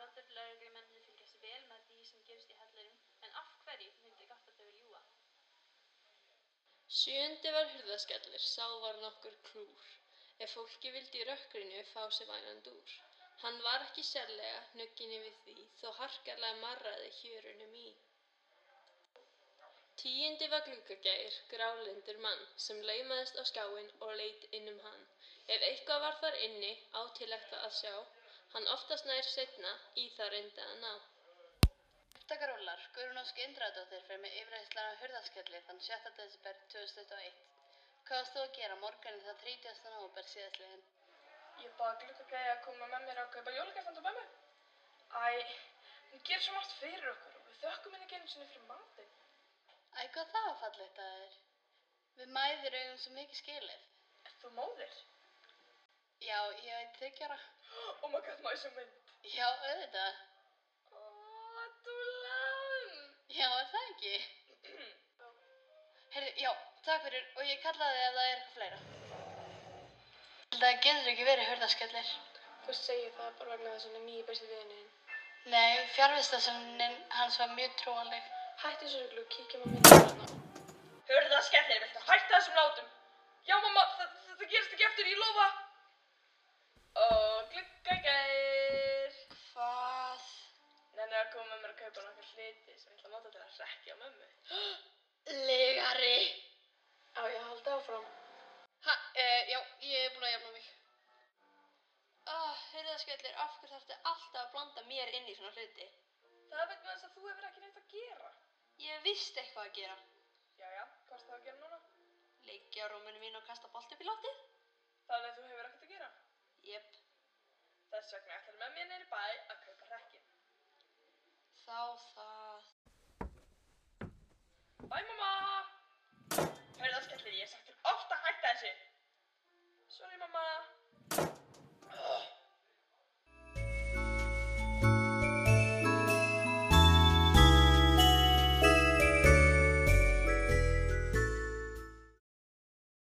lögreglumennirnir fylgjast vel með því sem gerist í hellinum en af hverju myndi Gattarfjöll ljúga? Sjöundi var hurðaskellur, sá var nokkur klúr. Ef fólki vildi í rökkrinu fá sér vænan dúr. Hann var ekki sérlega hnugginni við því, þó harkarlega marraði hjörunum í. Tíundi var glugagægir, grálindur mann, sem laumaðist á skáin og leit inn um hann. Ef eitthvað var þar inni, átilegt að sjá, hann oftast nær setna í það reyndi að ná. Upptakarólar, Guðrún Ósk Indræðdóttir fyrir með yfirreyslan á hurðaskelli þann 6. desember 2021. Hvað varst þú að gera morgunin það 30. nóvember síðastliðin? Ég bað gluggagæði að koma með mér að kaupa jólagafand á mömmu. Æ, hún gerir svo margt fyrir okkur og við þökkum henni ekki einu sinni fyrir matinn. Æ, hvað það var fallegt að þér? Við mæðir augum svo mikið skilið. Er þú móðir? Já, ég veit þykjara. Oh my god, má ég sem mynd? Já, auðvitað. Ó, dúlan! Já, er það ekki? Herðu, já, takk fyrir og ég kallaði þig ef það er eitthvað fleira. Það getur ekki verið hurðaskellir. Þú segir það bara vegna þess að hann er nýi besti viðininn. Nei, fjárvistasunnin hans var mjög trúanleg. Hætti þessu reglu og kíkjum á myndina. hérna. Hörðaskellir, viltu hætta þessum látum? Já, mamma, það, það, það gerist ekki eftir, ég lofa. Og gluggagæðir. Hvað? Nenni að koma með mér að kaupa nokkar hluti sem ég ætla að nota til að rekja mömmu. Legari. Á ég að halda áfram. Ha, e, já, ég er búin að jafna mig. Oh, hurðaskellir, af hverju þarftu alltaf að blanda mér inn í svona hluti? Það er vegna þess að þú hefur ekki neitt að gera. Ég visst eitthvað að gera. Jæja, hvað er það að gera núna? Leikja á rúminu mín og kasta bolt upp í loftið? Þannig að þú hefur ekkert að gera. Jep. Þess vegna ætlar með mér neyri bæ að kaupa rekju.